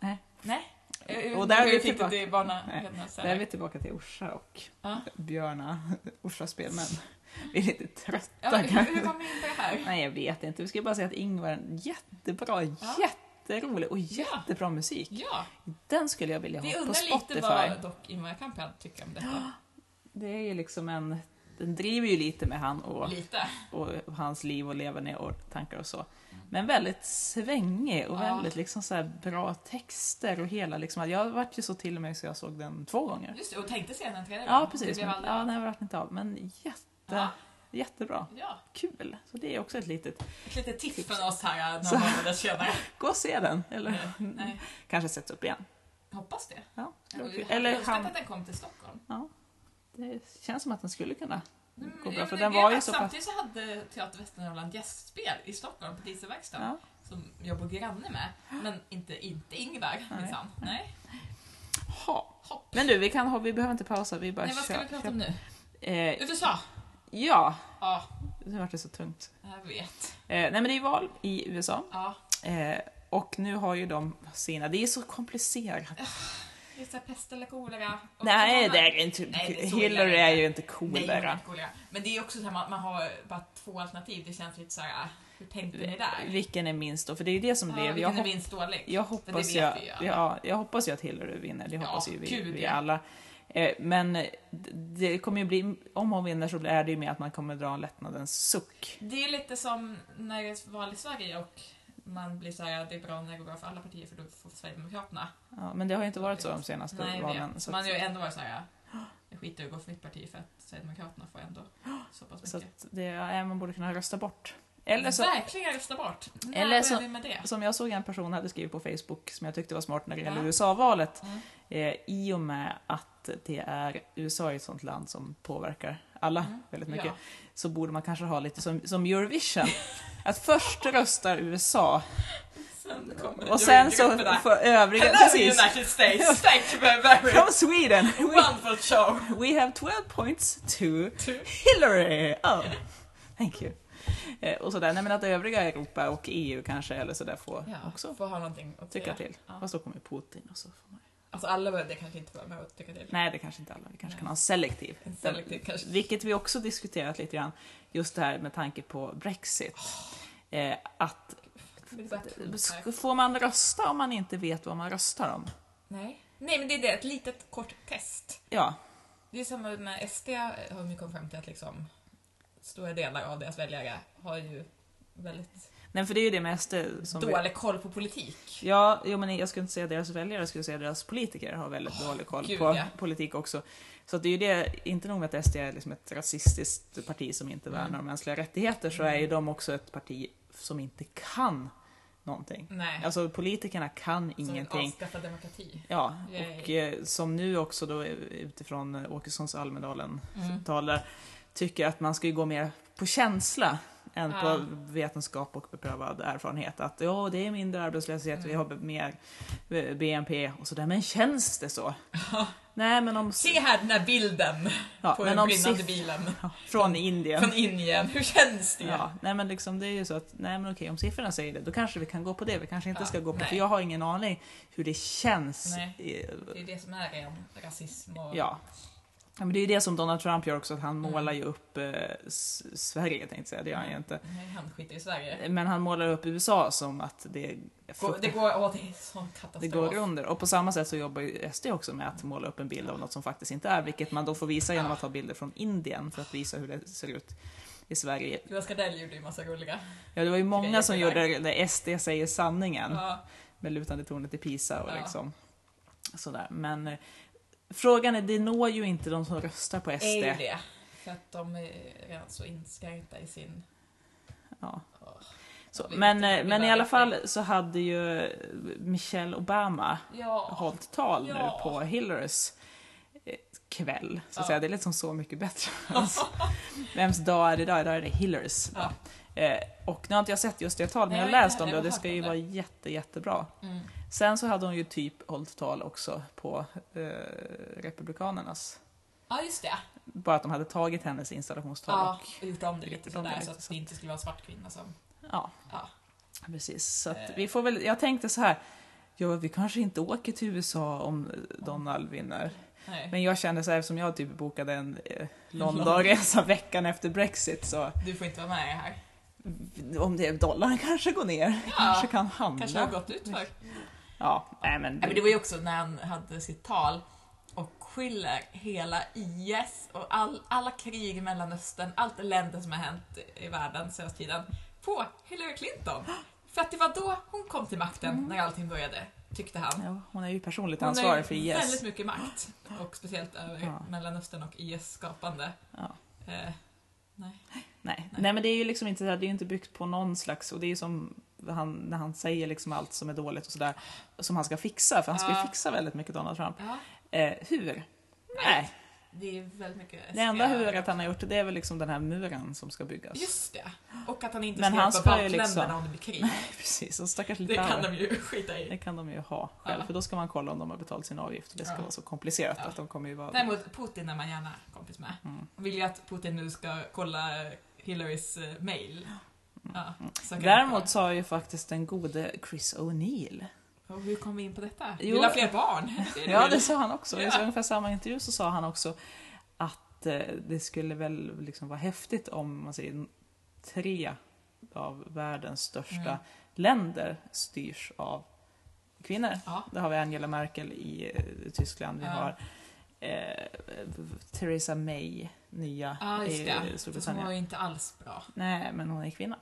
S1: Nej.
S2: Nej. Eh,
S1: Och där är vi
S2: fick
S1: tillbaka.
S2: det barna
S1: Nej,
S2: Hednadotter.
S1: Där är vi tillbaka till Orsa och
S2: Ja.
S1: Björna, Orsas spelmän. Vi är lite
S2: Ja,
S1: trötta
S2: hur, hur
S1: kanske.
S2: kom vi in på det här?
S1: Nej, jag vet inte. Vi ska bara säga att Ingvar är en jättebra,
S2: Ja.
S1: jätterolig och
S2: Ja.
S1: jättebra musik.
S2: Ja,
S1: Den skulle jag vilja
S2: vi
S1: ha på
S2: undrar
S1: Spotify.
S2: lite vad dock Ingvar Kamprad tycker om detta.
S1: Det är ju liksom en... Den driver ju lite med han och...
S2: Lite.
S1: och hans liv och leverne och tankar och så. Men väldigt svängig och
S2: Ja.
S1: väldigt liksom så här bra texter och hela liksom. Jag vart ju så till mig så jag såg den två gånger.
S2: Just det, och tänkte se den en tredje
S1: Ja
S2: gång. Det
S1: precis,
S2: blev
S1: men,
S2: aldrig
S1: ja,
S2: av.
S1: nej, det vart inte av. Men jätte,
S2: Ja,
S1: jättebra,
S2: ja.
S1: kul. Så det är också ett litet,
S2: Ett litet tips från oss här eh,
S1: Så-
S2: några månader senare.
S1: gå och se den. Eller Mm.
S2: Nej, nej.
S1: kanske sätts upp igen.
S2: Hoppas det.
S1: Ja,
S2: Jag hade
S1: eller
S2: önskat
S1: han,
S2: att den kom till Stockholm.
S1: det känns som att den skulle kunna
S2: Mm,
S1: gå bra
S2: ja,
S1: för
S2: men
S1: den
S2: det är
S1: var
S2: det
S1: ju
S2: att
S1: så pass...
S2: Samtidigt så hade Teater Västernorrland gästspel i Stockholm på Dieselverkstan
S1: Ja.
S2: som jag bor granne med. Men inte, inte Ingvar
S1: Nej.
S2: minsann. Nej.
S1: Ha.
S2: Hopp.
S1: Men du, vi, kan, ha- vi behöver inte pausa, vi bara
S2: Nej, vad ska
S1: kör-
S2: vi prata om nu?
S1: kör. Eh,
S2: USA!
S1: ja,
S2: Ja,
S1: nu vart det så tungt.
S2: jag vet.
S1: Eh, nej men det är ju val i USA.
S2: Ja,
S1: Eh, och nu har ju de sina, det är så komplicerat.
S2: det är så här pest eller kolera. Och
S1: Nej,
S2: så-
S1: det är inte.
S2: Nej, det är så illa
S1: Hillary
S2: det är
S1: är
S2: inte.
S1: ju inte
S2: Nej, det är
S1: kolera.
S2: inte kolera. Men det är också så här, man, man har bara två alternativ. Det känns lite så här, äh, hur tänkte ni där?
S1: Vilken är minst då? För det är ju det som
S2: Ja,
S1: blev. Jag,
S2: vilken är
S1: hop-
S2: minst dålig?
S1: jag
S2: För det
S1: hoppas
S2: vet
S1: ju
S2: vi ju
S1: ja, jag hoppas ju att Hillary vinner, det
S2: Ja,
S1: hoppas ju vi,
S2: gud,
S1: vi
S2: ja.
S1: alla. Eh, Men d- det kommer ju bli, om hon vinner så är det ju mer att man kommer dra en lättnadens suck.
S2: Det är lite som när det är val i Sverige och man blir så här, det är bra när det går bra för alla partier för då får Sverigedemokraterna.
S1: Ja, men det har ju inte varit så de senaste
S2: Nej, jag
S1: valen.
S2: vet. Så
S1: Så
S2: man
S1: att,
S2: har ju ändå varit så här, jag skiter i att gå för mitt parti för att Sverigedemokraterna får ändå så pass mycket.
S1: så att det, ja, man borde kunna rösta bort. Eller så,
S2: Verkligen rösta bort! När
S1: Eller
S2: börjar
S1: så-
S2: vi med det?
S1: som jag såg en person hade skrivit på Facebook som jag tyckte var smart när det gällde
S2: Ja.
S1: USA-valet.
S2: Mm.
S1: Eh, I och med att det är USA är ett sånt land som påverkar alla
S2: Mm.
S1: väldigt mycket.
S2: Ja.
S1: så borde man kanske ha lite som, som Eurovision. Att först röstar USA
S2: Sen kommer
S1: och sen så
S2: jurygruppen där.
S1: för övriga...
S2: Hello
S1: Precis!
S2: United States, thank you very very
S1: From Sweden! We,
S2: wonderful show!
S1: we have 12 points to
S2: Typ.
S1: Hillary! Oh, thank you. Eh, Och sådär, nej men att övriga Europa och EU kanske eller sådär får
S2: Ja,
S1: också
S2: får ha någonting att
S1: tycka
S2: säga.
S1: till.
S2: Ja.
S1: Fast då kommer Putin och så får man...
S2: Alltså alla behöver det kanske inte vara med och tycka till.
S1: Nej, det kanske inte alla, vi kanske
S2: Nej.
S1: kan ha en selektiv.
S2: En selektiv kanske.
S1: Vilket vi också diskuterat lite grann, just det här med tanke på Brexit.
S2: Oh.
S1: Eh, att
S2: Det är så här-
S1: Sk- Får man rösta om man inte vet vad man röstar om?
S2: Nej. Nej men det är det, ett litet kort test.
S1: Ja,
S2: Det är samma med SD, har vi kommit fram till att liksom stora delar av deras väljare har ju väldigt
S1: nej för det är ju det mest eh, som... vi-
S2: dålig koll på politik.
S1: Ja, jo, men jag skulle inte säga deras väljare, jag skulle säga deras politiker har väldigt dålig koll
S2: gud,
S1: på
S2: ja.
S1: politik också. Så att det är ju det, inte nog med att SD är liksom ett rasistiskt parti som inte
S2: Mm.
S1: värnar om mänskliga rättigheter, så är ju de också ett parti som inte kan någonting.
S2: Nej.
S1: Alltså politikerna kan
S2: som
S1: ingenting.
S2: Som avskaffa demokrati.
S1: Ja,
S2: Yay.
S1: och eh, som nu också då eh, utifrån eh, Åkessons Almedalen
S2: Mm.
S1: tal där, tycker att man ska ju gå mer på känsla än
S2: Ja.
S1: på vetenskap och beprövad erfarenhet. Att ja, det är mindre arbetslöshet, vi
S2: Mm.
S1: har mer eh, BNP och sådär. Men känns det så? Nej, men om...
S2: Se här den här bilden
S1: Ja,
S2: på
S1: men
S2: den
S1: om
S2: brinnande
S1: siff-
S2: bilen
S1: Ja, från Indien.
S2: från Indien. Hur känns det?
S1: Ja, nej men liksom det är ju så att, nej men okej om siffrorna säger det, då kanske vi kan gå på det. Vi kanske inte
S2: Ja,
S1: ska gå på,
S2: nej.
S1: för jag har ingen aning hur det känns. eh,
S2: Det är det som är ren rasism och...
S1: Ja. Ja, Men det är ju det som Donald Trump gör också, att han
S2: Mm.
S1: målar ju upp eh, S- Sverige tänkte jag säga, det gör han ju inte.
S2: Nej, han skiter i Sverige.
S1: Men han målar upp USA som att det, är
S2: Gå- Det
S1: fruktansvärt-
S2: går, åh, det är sån katastrof.
S1: det går under. Och på samma sätt så jobbar ju SD också med att måla upp en bild av något som faktiskt inte är, vilket man då får visa genom att ta bilder från Indien för att visa hur det ser ut i Sverige.
S2: Jonas Gardell gjorde ju massa roliga.
S1: Ja, det var ju många som
S2: Jättelike.
S1: gjorde där SD säger sanningen
S2: Ja.
S1: med lutande tornet i Pisa och
S2: Ja.
S1: liksom sådär. Men eh, frågan är, det når ju inte de som röstar på
S2: är ju
S1: SD.
S2: det. För att de är redan så inskränkta i sin...
S1: Ja.
S2: Åh.
S1: Så,
S2: Jag vet
S1: men, eh,
S2: inte, jag
S1: men
S2: vill
S1: i alla
S2: verkligen.
S1: fall så hade ju Michelle Obama
S2: Ja.
S1: hållit tal
S2: Ja.
S1: nu på Hillarys eh, kväll. Så att
S2: Ja.
S1: säga. Det är lite som Så mycket bättre. Alltså, vems dag är det idag? Idag är det Hillarys dag.
S2: ja.
S1: Eh, och nu har inte jag sett just det talet, men
S2: Nej,
S1: jag har
S2: jag har
S1: läst
S2: inte
S1: om det och det
S2: heller hört
S1: ska
S2: om
S1: ju
S2: det.
S1: vara jätte, jättebra.
S2: Mm.
S1: Sen så hade hon ju typ hållit tal också på eh, Republikanernas.
S2: ja, just det.
S1: Bara att de hade tagit hennes installationstal
S2: Ja,
S1: och
S2: och gjort om det lite
S1: gjort om det
S2: sådär
S1: lite
S2: så att
S1: så.
S2: det inte skulle vara en svart kvinna som...
S1: Ja.
S2: Ja.
S1: Precis, så att
S2: Eh.
S1: vi får väl, jag tänkte så här. Ja, vi kanske inte åker till USA om eh, Donald vinner.
S2: Nej.
S1: Men jag kände så här, eftersom jag typ bokade en eh, Londonresa veckan efter Brexit så
S2: Du får inte vara med i det här.
S1: om det är dollarn kanske går ner.
S2: Ja.
S1: Kanske kan handla.
S2: Kanske har gått ut för.
S1: Ja, nej men.
S2: Ja, men det var ju också när han hade sitt tal och skyller hela IS och all, alla krig i Mellanöstern, allt elände som har hänt i världen senaste tiden på Hillary Clinton. För att det var då hon kom till makten
S1: Mm.
S2: när allting började, tyckte han.
S1: ja, hon är ju personligt
S2: Hon
S1: ansvarig
S2: har
S1: för
S2: ju väldigt
S1: IS.
S2: mycket makt och speciellt över
S1: Ja.
S2: Mellanöstern och IS skapande.
S1: Ja.
S2: Eh,
S1: Nej.
S2: Nej.
S1: nej, men det är ju liksom inte, så här, det är ju inte byggt på någon slags, och det är ju som han, när han säger liksom allt som är dåligt och sådär, som han ska fixa, för han ska ju
S2: Ja.
S1: fixa väldigt mycket Donald Trump.
S2: ja,
S1: Eh, hur? Nej.
S2: det är väldigt mycket
S1: Det enda
S2: SDR.
S1: huvudet han har gjort det är väl liksom den här muren som ska byggas.
S2: Just det! Och att han inte
S1: Men
S2: ska
S1: han
S2: hjälpa
S1: ska ju
S2: baltländerna
S1: liksom-
S2: om det blir krig.
S1: Precis, och stackars
S2: Det kan
S1: Litauen.
S2: de ju skita i.
S1: Det kan de ju ha själv,
S2: Ja.
S1: för då ska man kolla om de har betalat sin avgift. Det ska
S2: Ja.
S1: vara så komplicerat
S2: Ja.
S1: att de kommer ju vara...
S2: Däremot Putin är man gärna kompis med.
S1: Mm.
S2: Vill ju att Putin nu ska kolla Hillarys eh, mail. Ja, så kan
S1: Mm. Däremot
S2: jag-
S1: sa ju faktiskt den gode Chris O'Neill.
S2: Och hur kom vi in på detta?
S1: Jo.
S2: Vill ha fler barn? Det är
S1: Ja,
S2: väl-
S1: det sa han också. I
S2: Ja.
S1: så ungefär samma intervju så sa han också att eh, det skulle väl liksom vara häftigt om man säger tre av världens största
S2: Mm.
S1: länder styrs av kvinnor.
S2: Ja.
S1: Där har vi Angela Merkel i eh, Tyskland, vi
S2: Ja.
S1: har eh, Theresa May, nya
S2: Ja, just
S1: i
S2: det. Fast hon
S1: Storbritannien.
S2: var ju inte alls bra.
S1: Nej, men hon är kvinna.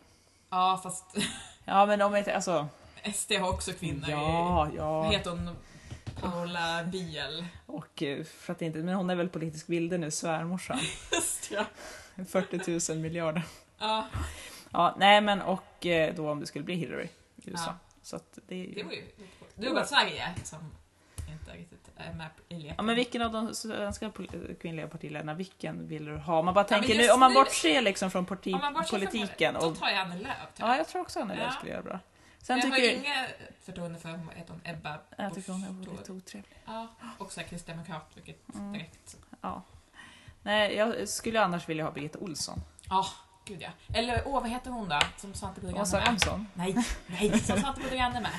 S2: Ja, fast
S1: Ja, men om inte, alltså...
S2: SD har också kvinnor i...
S1: Ja,
S2: Vad
S1: ja.
S2: heter hon? Paula Biel.
S1: Och eh, för att inte, men hon är väl politisk vilde nu, svärmorsan.
S2: Just ja.
S1: 40 000 miljarder.
S2: ja.
S1: Ja, nej men och eh, då om det skulle bli Hillary i USA.
S2: Ja.
S1: Så att det är
S2: Det var
S1: ju...
S2: ju... Det var bara Sverige som inte riktigt är med i leken.
S1: Ja, men vilken av de svenska pol- kvinnliga partiledarna, vilken vill du ha? Om man bara
S2: Ja, men
S1: tänker nu,
S2: just
S1: om man
S2: nu-
S1: bortser liksom från parti,
S2: Om man bortser från
S1: politiken.
S2: det, Då
S1: Och,
S2: tar jag Annie Lööf. tror
S1: ja,
S2: jag.
S1: jag tror också att Annie Lööf
S2: typ. Ja.
S1: skulle göra bra. Sen
S2: Jag
S1: tycker
S2: har
S1: jag,
S2: inget förtroende för hon heter hon Ebba
S1: jag tycker hon är
S2: Busch
S1: lite otrevlig.
S2: Ja, också kristdemokrat, vilket
S1: Mm.
S2: direkt...
S1: Ja. Nej, jag skulle annars vilja ha Birgitta Olsson.
S2: Ja, gud ja. Eller åh, vad heter hon då? Som Svante Björgen
S1: Åsa Romson.
S2: Nej, nej, som Svante Bodegran är med.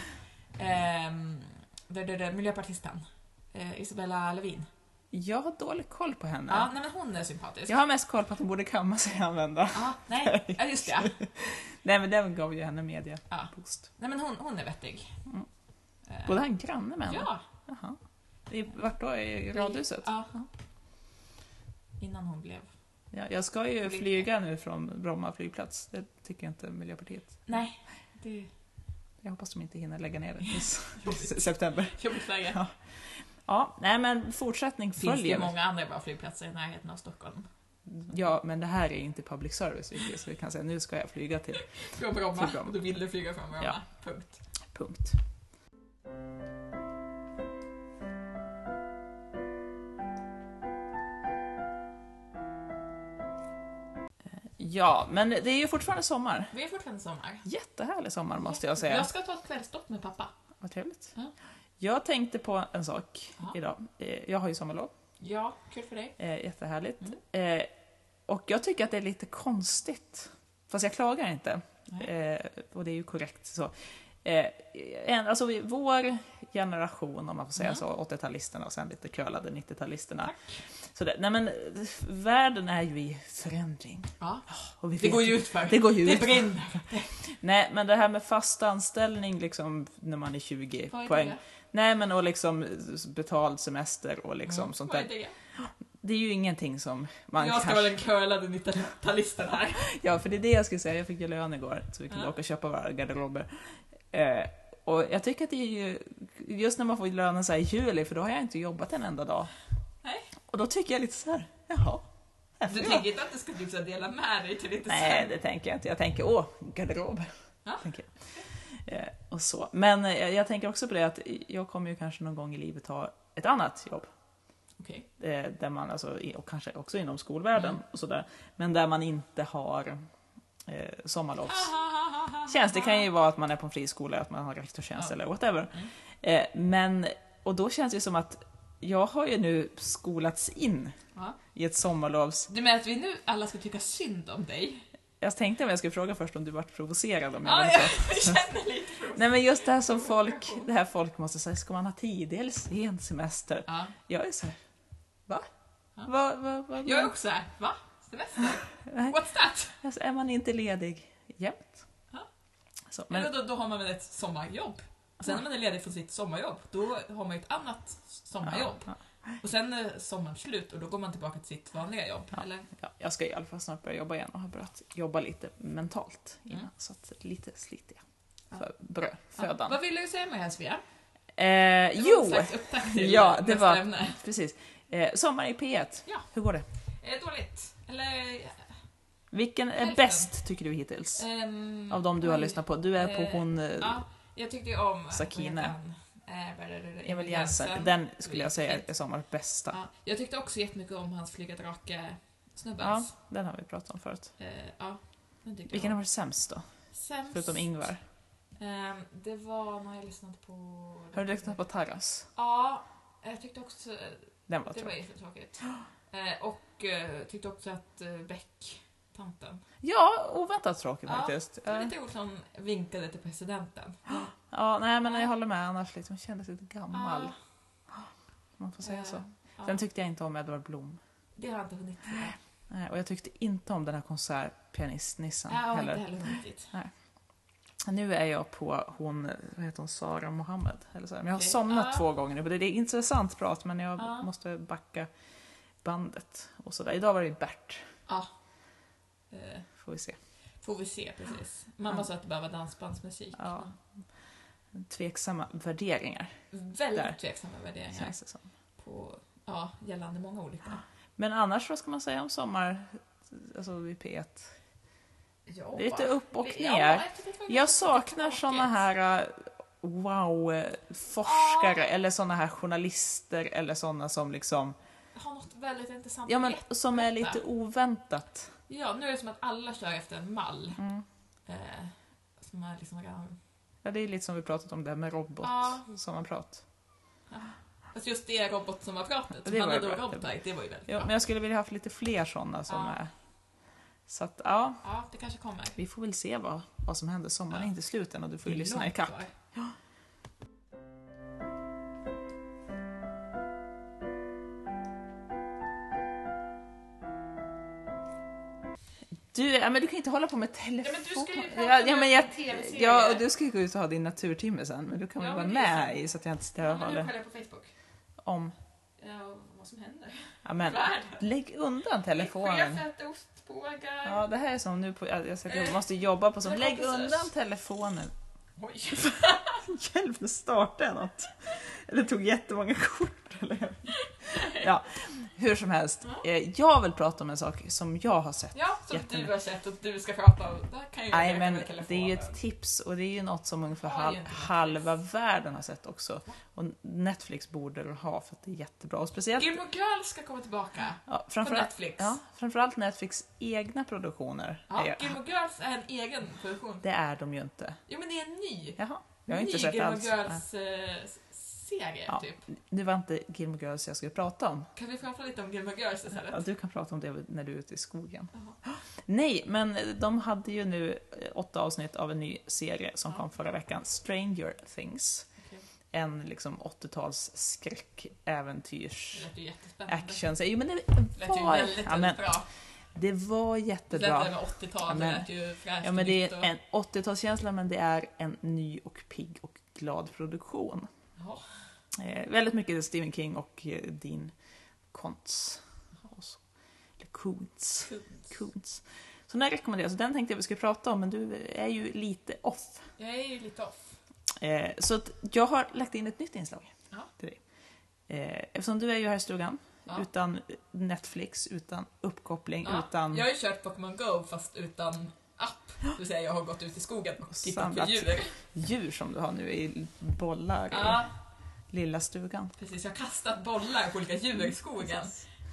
S2: Ehm, det, det, det, miljöpartisten. Eh, Isabella Lövin.
S1: Jag har dålig koll på henne.
S2: Ja, nej men hon är sympatisk.
S1: Jag har mest koll på att hon borde kamma sig och använda.
S2: Ja, nej, ja, just det.
S1: Nej men den gav ju henne media
S2: Ja.
S1: boost.
S2: Nej men hon, hon är vettig.
S1: Mm.
S2: Eh,
S1: Både han granne med henne?
S2: Ja,
S1: Jaha. I, vart då? I radhuset?
S2: ja. Innan hon blev...
S1: Ja, jag ska ju flyga nu från Bromma flygplats. Det tycker jag inte Miljöpartiet.
S2: Nej, det är
S1: Jag hoppas de inte hinner lägga ner det tills september.
S2: jobbigt läge.
S1: Ja, nej men fortsättning
S2: Finns det
S1: följer.
S2: många andra bra flygplatser i närheten av Stockholm?
S1: Ja, men det här är inte public service riktigt, så vi kan säga nu ska jag flyga till
S2: Från Bromma.
S1: Till Bromma.
S2: Då vill du flyga från Bromma.
S1: Ja.
S2: Punkt.
S1: punkt. Ja, men det är ju fortfarande sommar.
S2: Vi är fortfarande sommar.
S1: Jättehärlig sommar måste jag säga.
S2: Jag ska ta ett kvällsdopp med pappa.
S1: Vad trevligt.
S2: Ja.
S1: Jag tänkte på en sak
S2: Ja.
S1: idag. Eh, Jag har ju sommarlov,
S2: Ja, kul för dig.
S1: eh, jättehärligt.
S2: Mm.
S1: Eh, Och jag tycker att det är lite konstigt, fast jag klagar inte.
S2: Nej.
S1: Eh, Och det är ju korrekt så. Eh, En, alltså vi- vår generation, om man får säga
S2: Mm.
S1: så, 80-talisterna och sen lite curlade 90-talisterna.
S2: Tack.
S1: Så det, nej men, eh, världen är ju i förändring.
S2: Ja.
S1: Och vi
S2: Det
S1: vet
S2: går
S1: ju-
S2: ju utför.
S1: Det går ju
S2: Det
S1: ut.
S2: brinner.
S1: Nej, men det här med fast anställning liksom, när man är 20
S2: Vad är
S1: poäng.
S2: det?
S1: Nej, men och liksom betald semester och liksom
S2: Mm.
S1: sånt
S2: Vad är
S1: där.
S2: det?
S1: Det är ju ingenting som man
S2: jag ska
S1: kan...
S2: vara den curlade 90-talisten här.
S1: Ja, för det är det jag skulle säga. Jag fick ju lön igår så vi kunde
S2: Ja.
S1: åka och köpa våra garderober. Eh, och jag tycker att det är ju... Just när man får lönen så här i juli, för då har jag inte jobbat en enda dag.
S2: Nej.
S1: Och då tycker jag lite så här, jaha. här får
S2: Du
S1: jag.
S2: tänker inte att du ska typ så här dela med dig till lite
S1: Nej,
S2: sen?
S1: det tänker jag inte. Jag tänker, åh, garderob.
S2: Ja.
S1: Tänker jag. Eh, och så. Men eh, jag tänker också på det att jag kommer ju kanske någon gång i livet ha ett annat jobb.
S2: Okej.
S1: eh, där man alltså, i- och kanske också inom skolvärlden
S2: Mm.
S1: och sådär, men där man inte har eh,
S2: Ah,
S1: sommarlovstjänst. Det kan ju vara att man är på en friskola, att man har rektorstjänst
S2: Ja. Mm.
S1: eller whatever. Eh, men, och då känns det ju som att jag har ju nu skolats in
S2: Ja.
S1: i ett sommarlovs...
S2: Du menar att vi nu alla ska tycka synd om dig?
S1: Jag tänkte om jag skulle fråga först om du vart provocerad om jag
S2: Ah, Ja,
S1: hade
S2: jag
S1: sagt.
S2: känner lite för
S1: Nej men just det här som folk, det här folk måste säga, ska man ha tidig eller sen semester?
S2: ja.
S1: Jag är såhär, va?
S2: Ja.
S1: Va, va, va,
S2: Jag är också här. va? Semester?
S1: Nej.
S2: What's that?
S1: Alltså, är man inte ledig jämt?
S2: Ja.
S1: Så,
S2: Men,
S1: men,
S2: då, då har man väl ett sommarjobb? Sen när man är ledig från sitt sommarjobb, då har man ju ett annat sommarjobb.
S1: Ja,
S2: Och sen är sommaren slut och då går man tillbaka till sitt vanliga jobb,
S1: Ja.
S2: eller?
S1: ja, jag ska i alla fall snart börja jobba igen och har börjat jobba lite mentalt innan.
S2: Mm.
S1: Så att lite slitiga.
S2: Ja.
S1: För bröd,
S2: Ja.
S1: födan.
S2: Vad ville du säga med det här Svea?
S1: Eh,
S2: Det var en
S1: jo,
S2: slags upptakt till
S1: Ja,
S2: nästa
S1: det var-
S2: ämne.
S1: precis. Eh, sommar i P1.
S2: Ja.
S1: Hur går det?
S2: Eh, dåligt. Eller...
S1: Vilken är
S2: Hälften.
S1: bäst tycker du hittills?
S2: ehm,
S1: Av de du har
S2: oj.
S1: lyssnat på? Du är på
S2: Eh,
S1: hon eh,
S2: Ja, jag tyckte ju om...
S1: Sakine.
S2: vad heter han? Eh, vad är det?
S1: Emil Jensen. Den skulle jag säga är sommars bästa.
S2: Ja, jag tyckte också jättemycket om hans flyga drake-snubben.
S1: Ja, den har vi pratat om förut.
S2: Ja. Eh, ja, den tyckte
S1: Vilken har
S2: jag om.
S1: varit sämst då?
S2: Sämst.
S1: Förutom Ingvar.
S2: Ehm, det var när jag lyssnade på...
S1: Har du lyssnat på Tarras?
S2: Ja, jag tyckte också...
S1: Den var
S2: Det var
S1: tråkig.
S2: jättetråkigt. Eh, och eh, tyckte också att eh, Beck, tanten,
S1: Ja, oväntat tråkig
S2: Ja,
S1: faktiskt.
S2: det var
S1: Eh,
S2: lite roligt hon vinkade till presidenten.
S1: Ja, nej men jag håller med annars lite. Hon kändes lite gammal.
S2: Ja,
S1: Om man får säga så.
S2: eh, ja.
S1: Sen tyckte jag inte om Edvard Blom. Eh,
S2: Det har jag inte hunnit med.
S1: Nej, Och jag tyckte inte om den här konsertpianistnissen
S2: Jag har inte
S1: heller.
S2: heller hunnit dit.
S1: Nu är jag på hon, vad heter hon, Sara Mohammed. Eller så här. Men jag har
S2: Okej.
S1: somnat
S2: Ah.
S1: två gånger nu, men det är intressant prat men jag
S2: Ah.
S1: måste backa bandet och sådär. Idag var det Bert,
S2: Ja. Eh,
S1: får vi se.
S2: Får vi se precis. Mamma sa att det bara var dansbandsmusik.
S1: Ja. Tveksamma värderingar,
S2: Väldigt
S1: Där.
S2: tveksamma värderingar
S1: känns det som.
S2: på, ja, gällande många olika.
S1: Men annars, vad ska man säga om sommar, alltså vid P1?
S2: Ja.
S1: Det är lite upp och
S2: Ja,
S1: ner.
S2: jag tycker det var
S1: Jag
S2: ganska
S1: saknar
S2: tråkigt.
S1: såna här äh, wow-forskare eller såna här journalister eller såna som liksom,
S2: Har något väldigt intressant
S1: ja men
S2: att
S1: som är
S2: berätta.
S1: lite oväntat.
S2: Ja, nu är det som att alla kör efter en mall.
S1: Mm.
S2: Eh, som man liksom kan...
S1: Ja, det är lite som vi pratat om det här med robot
S2: Ja.
S1: som man pratat.
S2: Fast just det robot som var pratet,
S1: Det
S2: som
S1: var ju
S2: handlade om
S1: bra.
S2: robotar, det var ju väldigt
S1: Ja, men
S2: bra.
S1: jag skulle vilja haft lite fler såna som
S2: Ja.
S1: är... Så att, ja,
S2: Ja, det kanske kommer.
S1: vi får väl se vad, vad som händer. Sommaren
S2: Ja.
S1: är inte slut än och du får ju
S2: Det är
S1: lyssna
S2: långt
S1: ikapp.
S2: kvar.
S1: Du, ja, men du kan inte hålla på med telefon.
S2: Ja, men du ska ju prata
S1: ja, ja,
S2: om
S1: men jag,
S2: en TV-serie.
S1: ja, och du ska ju gå ut och ha din naturtimme sen, men du kan väl
S2: Ja,
S1: vara
S2: men det är
S1: med
S2: sant.
S1: i så att jag inte stör
S2: Ja, men nu
S1: håller
S2: kollar jag på Facebook.
S1: om.
S2: Ja, och vad som händer.
S1: Ja, men,
S2: Världen.
S1: lägg undan telefonen.
S2: Chef äter ostbågar.
S1: Ja, det här är som nu på, jag jag säkert måste jobba på som.
S2: Jag
S1: Lägg
S2: kommer precis.
S1: undan telefonen.
S2: Oj.
S1: Hjälp, nu startade jag något. Det tog jättemånga kort. Eller? Ja, hur som helst. Eh, Jag vill prata om en sak som jag har sett.
S2: Ja, som
S1: Jättemycket.
S2: du har sett och du ska prata om. Det här kan ju
S1: Nej,
S2: verka
S1: men
S2: med telefonen.
S1: det är ju ett tips och det är ju något som ungefär
S2: Har ju
S1: hal-
S2: inte Netflix.
S1: halva världen har sett också. Och Netflix borde väl ha för att det är jättebra. Och speciellt,
S2: Gilmore Girls ska komma tillbaka
S1: ja,
S2: på
S1: framförallt,
S2: Netflix.
S1: ja, framförallt Netflix egna produktioner.
S2: Ja,
S1: är,
S2: Gilmore Girls är en egen produktion.
S1: det är de ju inte.
S2: Jo, men det är en ny.
S1: Jaha, jag har inte
S2: ny
S1: sett
S2: Gilmore
S1: alls.
S2: eh, Girls-serie,
S1: Ja.
S2: typ.
S1: Det var inte Gilmore Girls jag skulle prata om.
S2: Kan vi prata lite om Gilmore Girls istället?
S1: Ja, du kan prata om det när du är ute i skogen.
S2: Jaha.
S1: Nej, men de hade ju nu eh, åtta avsnitt av en ny serie som
S2: Ja.
S1: kom förra veckan, Stranger Things.
S2: Okej.
S1: En liksom 80-tals skräck,
S2: Det
S1: äventyrs,
S2: lät ju jättespännande.
S1: action. Jo, men det
S2: Det lät ju
S1: var,
S2: väldigt,
S1: ja, men,
S2: väldigt bra.
S1: det var
S2: Det lät där
S1: jättebra.
S2: med 80-tal, det
S1: men-
S2: lät ju fräscht
S1: Ja, men det
S2: och
S1: är en 80-talskänsla, men det är en ny och pigg och glad produktion.
S2: Jaha.
S1: Eh, väldigt mycket Stephen King och eh, Dean Kontz. Och så- Eller Koontz. Coons. Så den här rekommenderas. Den tänkte jag vi skulle prata om, men du är ju lite off.
S2: Jag är ju lite off.
S1: Eh, så att jag har lagt in ett nytt inslag
S2: Ja.
S1: till dig. Eh, eftersom du är ju här i stugan,
S2: Ja.
S1: utan Netflix, utan uppkoppling,
S2: Ja,
S1: utan...
S2: Jag har ju kört Pokémon Go fast utan app. Det vill säga jag har gått ut i skogen och tittat på
S1: Samlat.
S2: djur.
S1: djur som du har nu i bollar
S2: Ja,
S1: i lilla stugan.
S2: precis. Jag har kastat bollar på olika djur i skogen.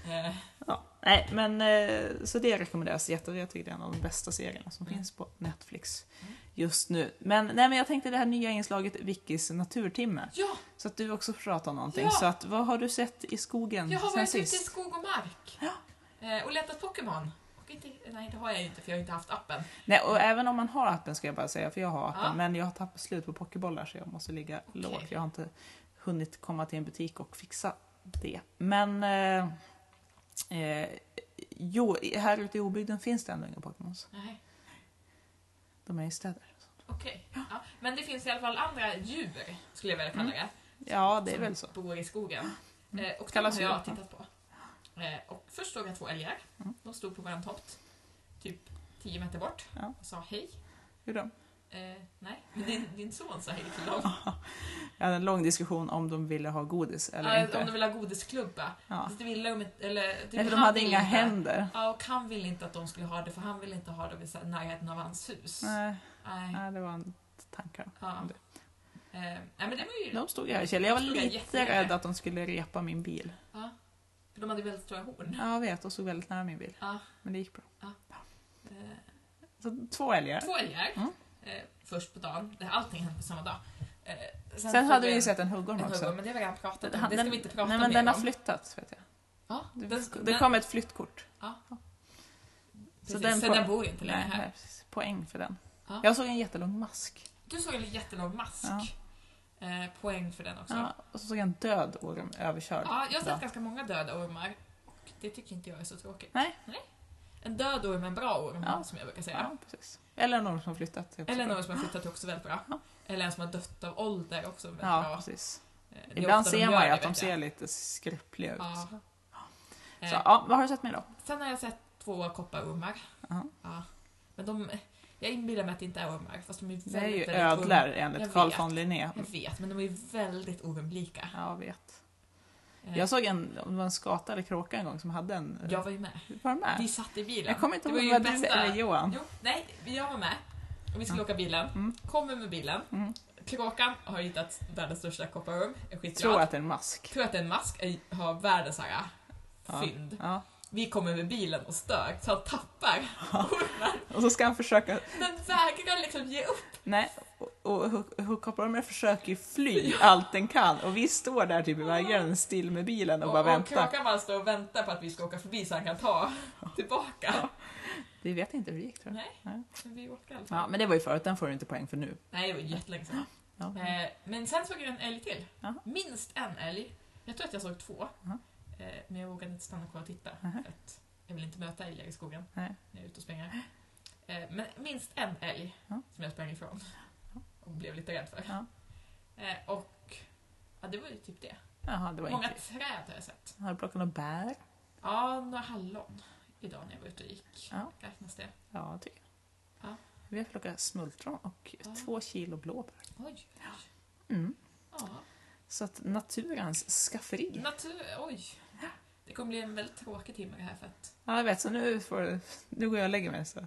S2: Eh,
S1: Ja. Nej, men eh, så det rekommenderas jätte. Jag tycker det är en av de bästa serierna som
S2: Mm.
S1: finns på Netflix
S2: Mm.
S1: just nu. Men, nej, men jag tänkte det här nya inslaget Vickis naturtimme.
S2: Ja,
S1: Så att du också får prata om någonting.
S2: Ja.
S1: Så att, vad har du sett i skogen
S2: jag har
S1: sen
S2: varit ute i
S1: sist?
S2: skog och mark. Eh, Och letat Pokémon. Och inte, nej, det har jag ju inte för jag har inte haft appen.
S1: Nej, och även om man har appen ska jag bara säga, för jag har appen,
S2: Ja.
S1: men jag har tappat slut på pokébollar så jag måste ligga lågt. Jag har inte hunnit komma till en butik och fixa det. Men... Eh, eh, jo, här ute i obygden finns det ändå inga Pokémons.
S2: Nej,
S1: De är i städer.
S2: okej. Ja. Men det finns i alla fall andra djur, skulle jag vilja kalla det.
S1: Mm. Ja, det är
S2: som
S1: väl så. Mm.
S2: bor i skogen. Eh, och de
S1: Kallas
S2: har
S1: djur,
S2: jag
S1: ja.
S2: tittat på. Eh, och först såg jag två älgar.
S1: Mm.
S2: De stod på våran tomt, typ 10 meter bort,
S1: Ja.
S2: och sa hej.
S1: Hur då?
S2: Eh, nej, men din, din son sa hej till dem.
S1: Jag hade en lång diskussion om de ville ha godis eller
S2: Ja,
S1: inte.
S2: Eh, om de ville ha godisklubba.
S1: Ja.
S2: Det ville de inte, eller,
S1: Nej, för de
S2: han
S1: hade
S2: ville
S1: inga
S2: inte.
S1: händer.
S2: Ja, och han ville inte att de skulle ha det för han ville inte ha det vid så här närheten av hans hus.
S1: Nej,
S2: Nej.
S1: nej, det var en tanke.
S2: Ja. Eh, nej, men det var ju...
S1: De stod ju här i källaren. Jag var
S2: De stod här
S1: lite
S2: jättelänge.
S1: rädd att de skulle repa min bil.
S2: Ja. För de hade väldigt stora horn.
S1: Ja, jag vet. De stod väldigt nära min bil.
S2: Ja.
S1: Men det gick bra.
S2: Eh,
S1: Så två älgar.
S2: Två älgar.
S1: Mm.
S2: Eh, först på dagen. Det- Allting hände på samma dag. Eh,
S1: Sen,
S2: såg
S1: hade vi
S2: jag
S1: ju
S2: en-
S1: sett en
S2: en
S1: huggorm
S2: huggorm,
S1: också.
S2: men det har vi redan pratat om.
S1: Han-
S2: det ska
S1: den-
S2: vi inte prata
S1: Nej, men
S2: mer
S1: den har
S2: om.
S1: flyttats vet jag.
S2: ja,
S1: Det,
S2: den,
S1: det kom ett flyttkort.
S2: precis,
S1: den
S2: den,
S1: får-
S2: så den bor ju inte längre
S1: Nej,
S2: här.
S1: nej, precis. poäng för den.
S2: Ja.
S1: Jag såg en jättelång mask.
S2: Du såg en jättelång mask.
S1: Ja.
S2: Eh, poäng för den också.
S1: Ja, och så såg jag en död orm överkörd.
S2: Ja, jag har sett
S1: Bra.
S2: ganska många döda ormar. Och det tycker inte jag är så tråkigt.
S1: Nej.
S2: Nej. En död orm är en bra orm,
S1: Ja.
S2: som jag brukar säga.
S1: Ja, precis. Eller någon som har flyttat. är också
S2: Eller
S1: bra.
S2: någon som har flyttat är också väldigt bra.
S1: Ja.
S2: Eller en som har dött av ålder är också väldigt
S1: Ja,
S2: bra.
S1: precis.
S2: Eh, det är
S1: Ibland
S2: ofta de
S1: ser
S2: gör
S1: man ju
S2: det,
S1: att de
S2: vet
S1: ser
S2: jag.
S1: lite skröpliga ut.
S2: Ja.
S1: Så,
S2: Eh,
S1: ja, vad har du sett mer då?
S2: Sen har jag sett två kopparormar.
S1: Aha.
S2: Ja. Men de, jag inbillar mig att det inte är ormar, fast de är väldigt,
S1: Det är ju
S2: väldigt
S1: ödlor
S2: orm-
S1: enligt
S2: Jag
S1: Carl
S2: vet.
S1: von Linné.
S2: Jag vet, men de är ju väldigt ormlika.
S1: Ja, jag vet.
S2: Eh,
S1: Jag såg en, det var en skata eller kråka en gång som hade en... eh,
S2: jag var ju med.
S1: Var du
S2: Vi
S1: med?
S2: satt i bilen.
S1: Jag kommer inte
S2: Det var
S1: ihåg,
S2: ju
S1: vad
S2: det
S1: du
S2: bästa.
S1: eller Johan?
S2: Jo, nej, jag var med. Och vi skulle åka bilen.
S1: Mm.
S2: Kommer med bilen.
S1: Mm.
S2: Kråkan har hittat världens största kopparorm. Jag är skitglad.
S1: Tror att det är en mask.
S2: tror att det är en mask Jag har världens här
S1: Ja.
S2: fynd.
S1: Ja.
S2: Vi kommer med bilen och stök så han tappar ormen.
S1: Och så ska han försöka...
S2: Den vägrar liksom ge upp.
S1: Nej, och, och Hook- Hookopparormen försöker ju fly allt den kan och vi står där typ i vägen still med bilen och bara
S2: och, och
S1: väntar.
S2: Kråkan bara står och väntar på att vi ska åka förbi så han kan ta tillbaka.
S1: Vi vet inte hur det gick tror jag.
S2: Nej,
S1: Nej.
S2: men vi åkte i alla fall.
S1: Ja, men det var ju förut, den får du inte poäng för nu.
S2: Nej, det var jättelänge sedan.
S1: Ja.
S2: Eh, Men sen såg jag en älg till.
S1: Jaha.
S2: Minst en älg. Jag tror att jag såg två.
S1: Jaha.
S2: Eh, Men jag vågade inte stanna kvar och titta.
S1: Aha.
S2: För att jag vill inte möta älgar i skogen
S1: Nej.
S2: när jag är ute och springer. Eh, Men minst en älg
S1: Ja.
S2: som jag sprang ifrån. Och blev lite rädd för.
S1: Ja.
S2: Eh, Och ja, det var ju typ det.
S1: Jaha, det var
S2: Många
S1: inte...
S2: träd har jag sett.
S1: Har du plockat några bär?
S2: Ja, några hallon idag när jag var ute och gick.
S1: Ja.
S2: Räknas det?
S1: Ja, jag tycker jag.
S2: Ja.
S1: Vi har plockat smultron och
S2: Ja.
S1: två kilo blåbär.
S2: Oj, oj.
S1: Mm.
S2: Ja.
S1: Så att naturens skafferi.
S2: Natur... Oj. Det kommer bli en väldigt tråkig timme det här för att...
S1: Ja, jag vet, så nu, får, du- nu går jag och lägger mig. Så.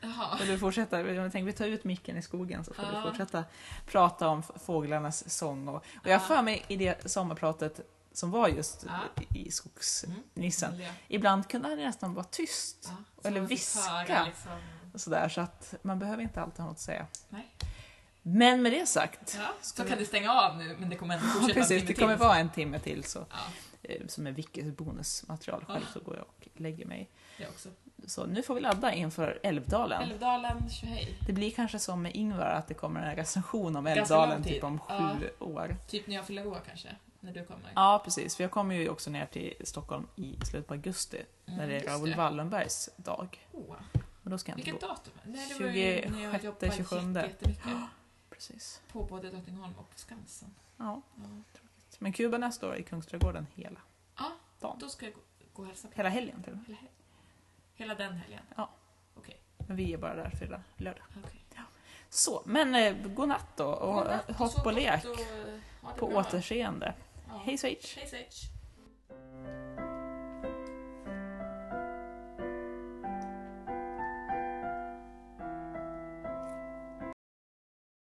S2: Jaha.
S1: Och du fortsätter, jag tänkte vi tar ut micken i skogen så får
S2: Ja.
S1: du fortsätta prata om f- fåglarnas sång. Och, och jag
S2: Ja.
S1: har för mig i det sommarpratet som var just
S2: Ja.
S1: i
S2: Mm.
S1: skogsnissen,
S2: Miljö.
S1: ibland kunde han nästan vara tyst.
S2: Ja, så
S1: Eller
S2: man fick
S1: viska.
S2: höra Liksom.
S1: och Sådär, så att man behöver inte alltid ha något att säga.
S2: Nej.
S1: Men med det sagt,
S2: Ja,
S1: Ska
S2: så
S1: vi-
S2: kan du stänga av nu, men det kommer ändå fortsätta
S1: Ja, precis, det
S2: en timme
S1: kommer
S2: till.
S1: vara en timme till så,
S2: Ja,
S1: eh, som är Vickys bonusmaterial.
S2: Ah.
S1: Själv så går jag och lägger mig.
S2: jag också.
S1: Så nu får vi ladda inför Älvdalen.
S2: Älvdalen, tjohej.
S1: Det blir kanske som med Ingvar, att det kommer en recension om
S2: Ganska
S1: Älvdalen
S2: lång tid.
S1: typ om sju år.
S2: Typ när jag fyller år kanske, när du kommer.
S1: Ja, precis. För jag kommer ju också ner till Stockholm i slutet på augusti,
S2: Mm,
S1: när det är
S2: just
S1: Raoul Wallenbergs dag.
S2: Åh,
S1: Men då ska jag inte
S2: vilket
S1: gå.
S2: datum? Nej, det var ju när jag
S1: 26,
S2: jobbade
S1: 27.
S2: jätte- jättemycket.
S1: Precis.
S2: På både Drottningholm och Skansen.
S1: Ja.
S2: Ja.
S1: Men Kuba nästa år i Kungsträdgården hela,
S2: Ja,
S1: dagen.
S2: då ska jag gå, gå och hälsa på.
S1: hela helgen till och med.
S2: Hela, hel- hela den helgen?
S1: Ja.
S2: Okej.
S1: Men vi är bara där fredag, lördag.
S2: okej.
S1: Så, men eh, god natt då och
S2: Godnatt
S1: hopp
S2: sov
S1: och lek
S2: gott och, eh, ha det
S1: på
S2: bra.
S1: återseende.
S2: Ja.
S1: Hej svejs!
S2: Hej, Sage.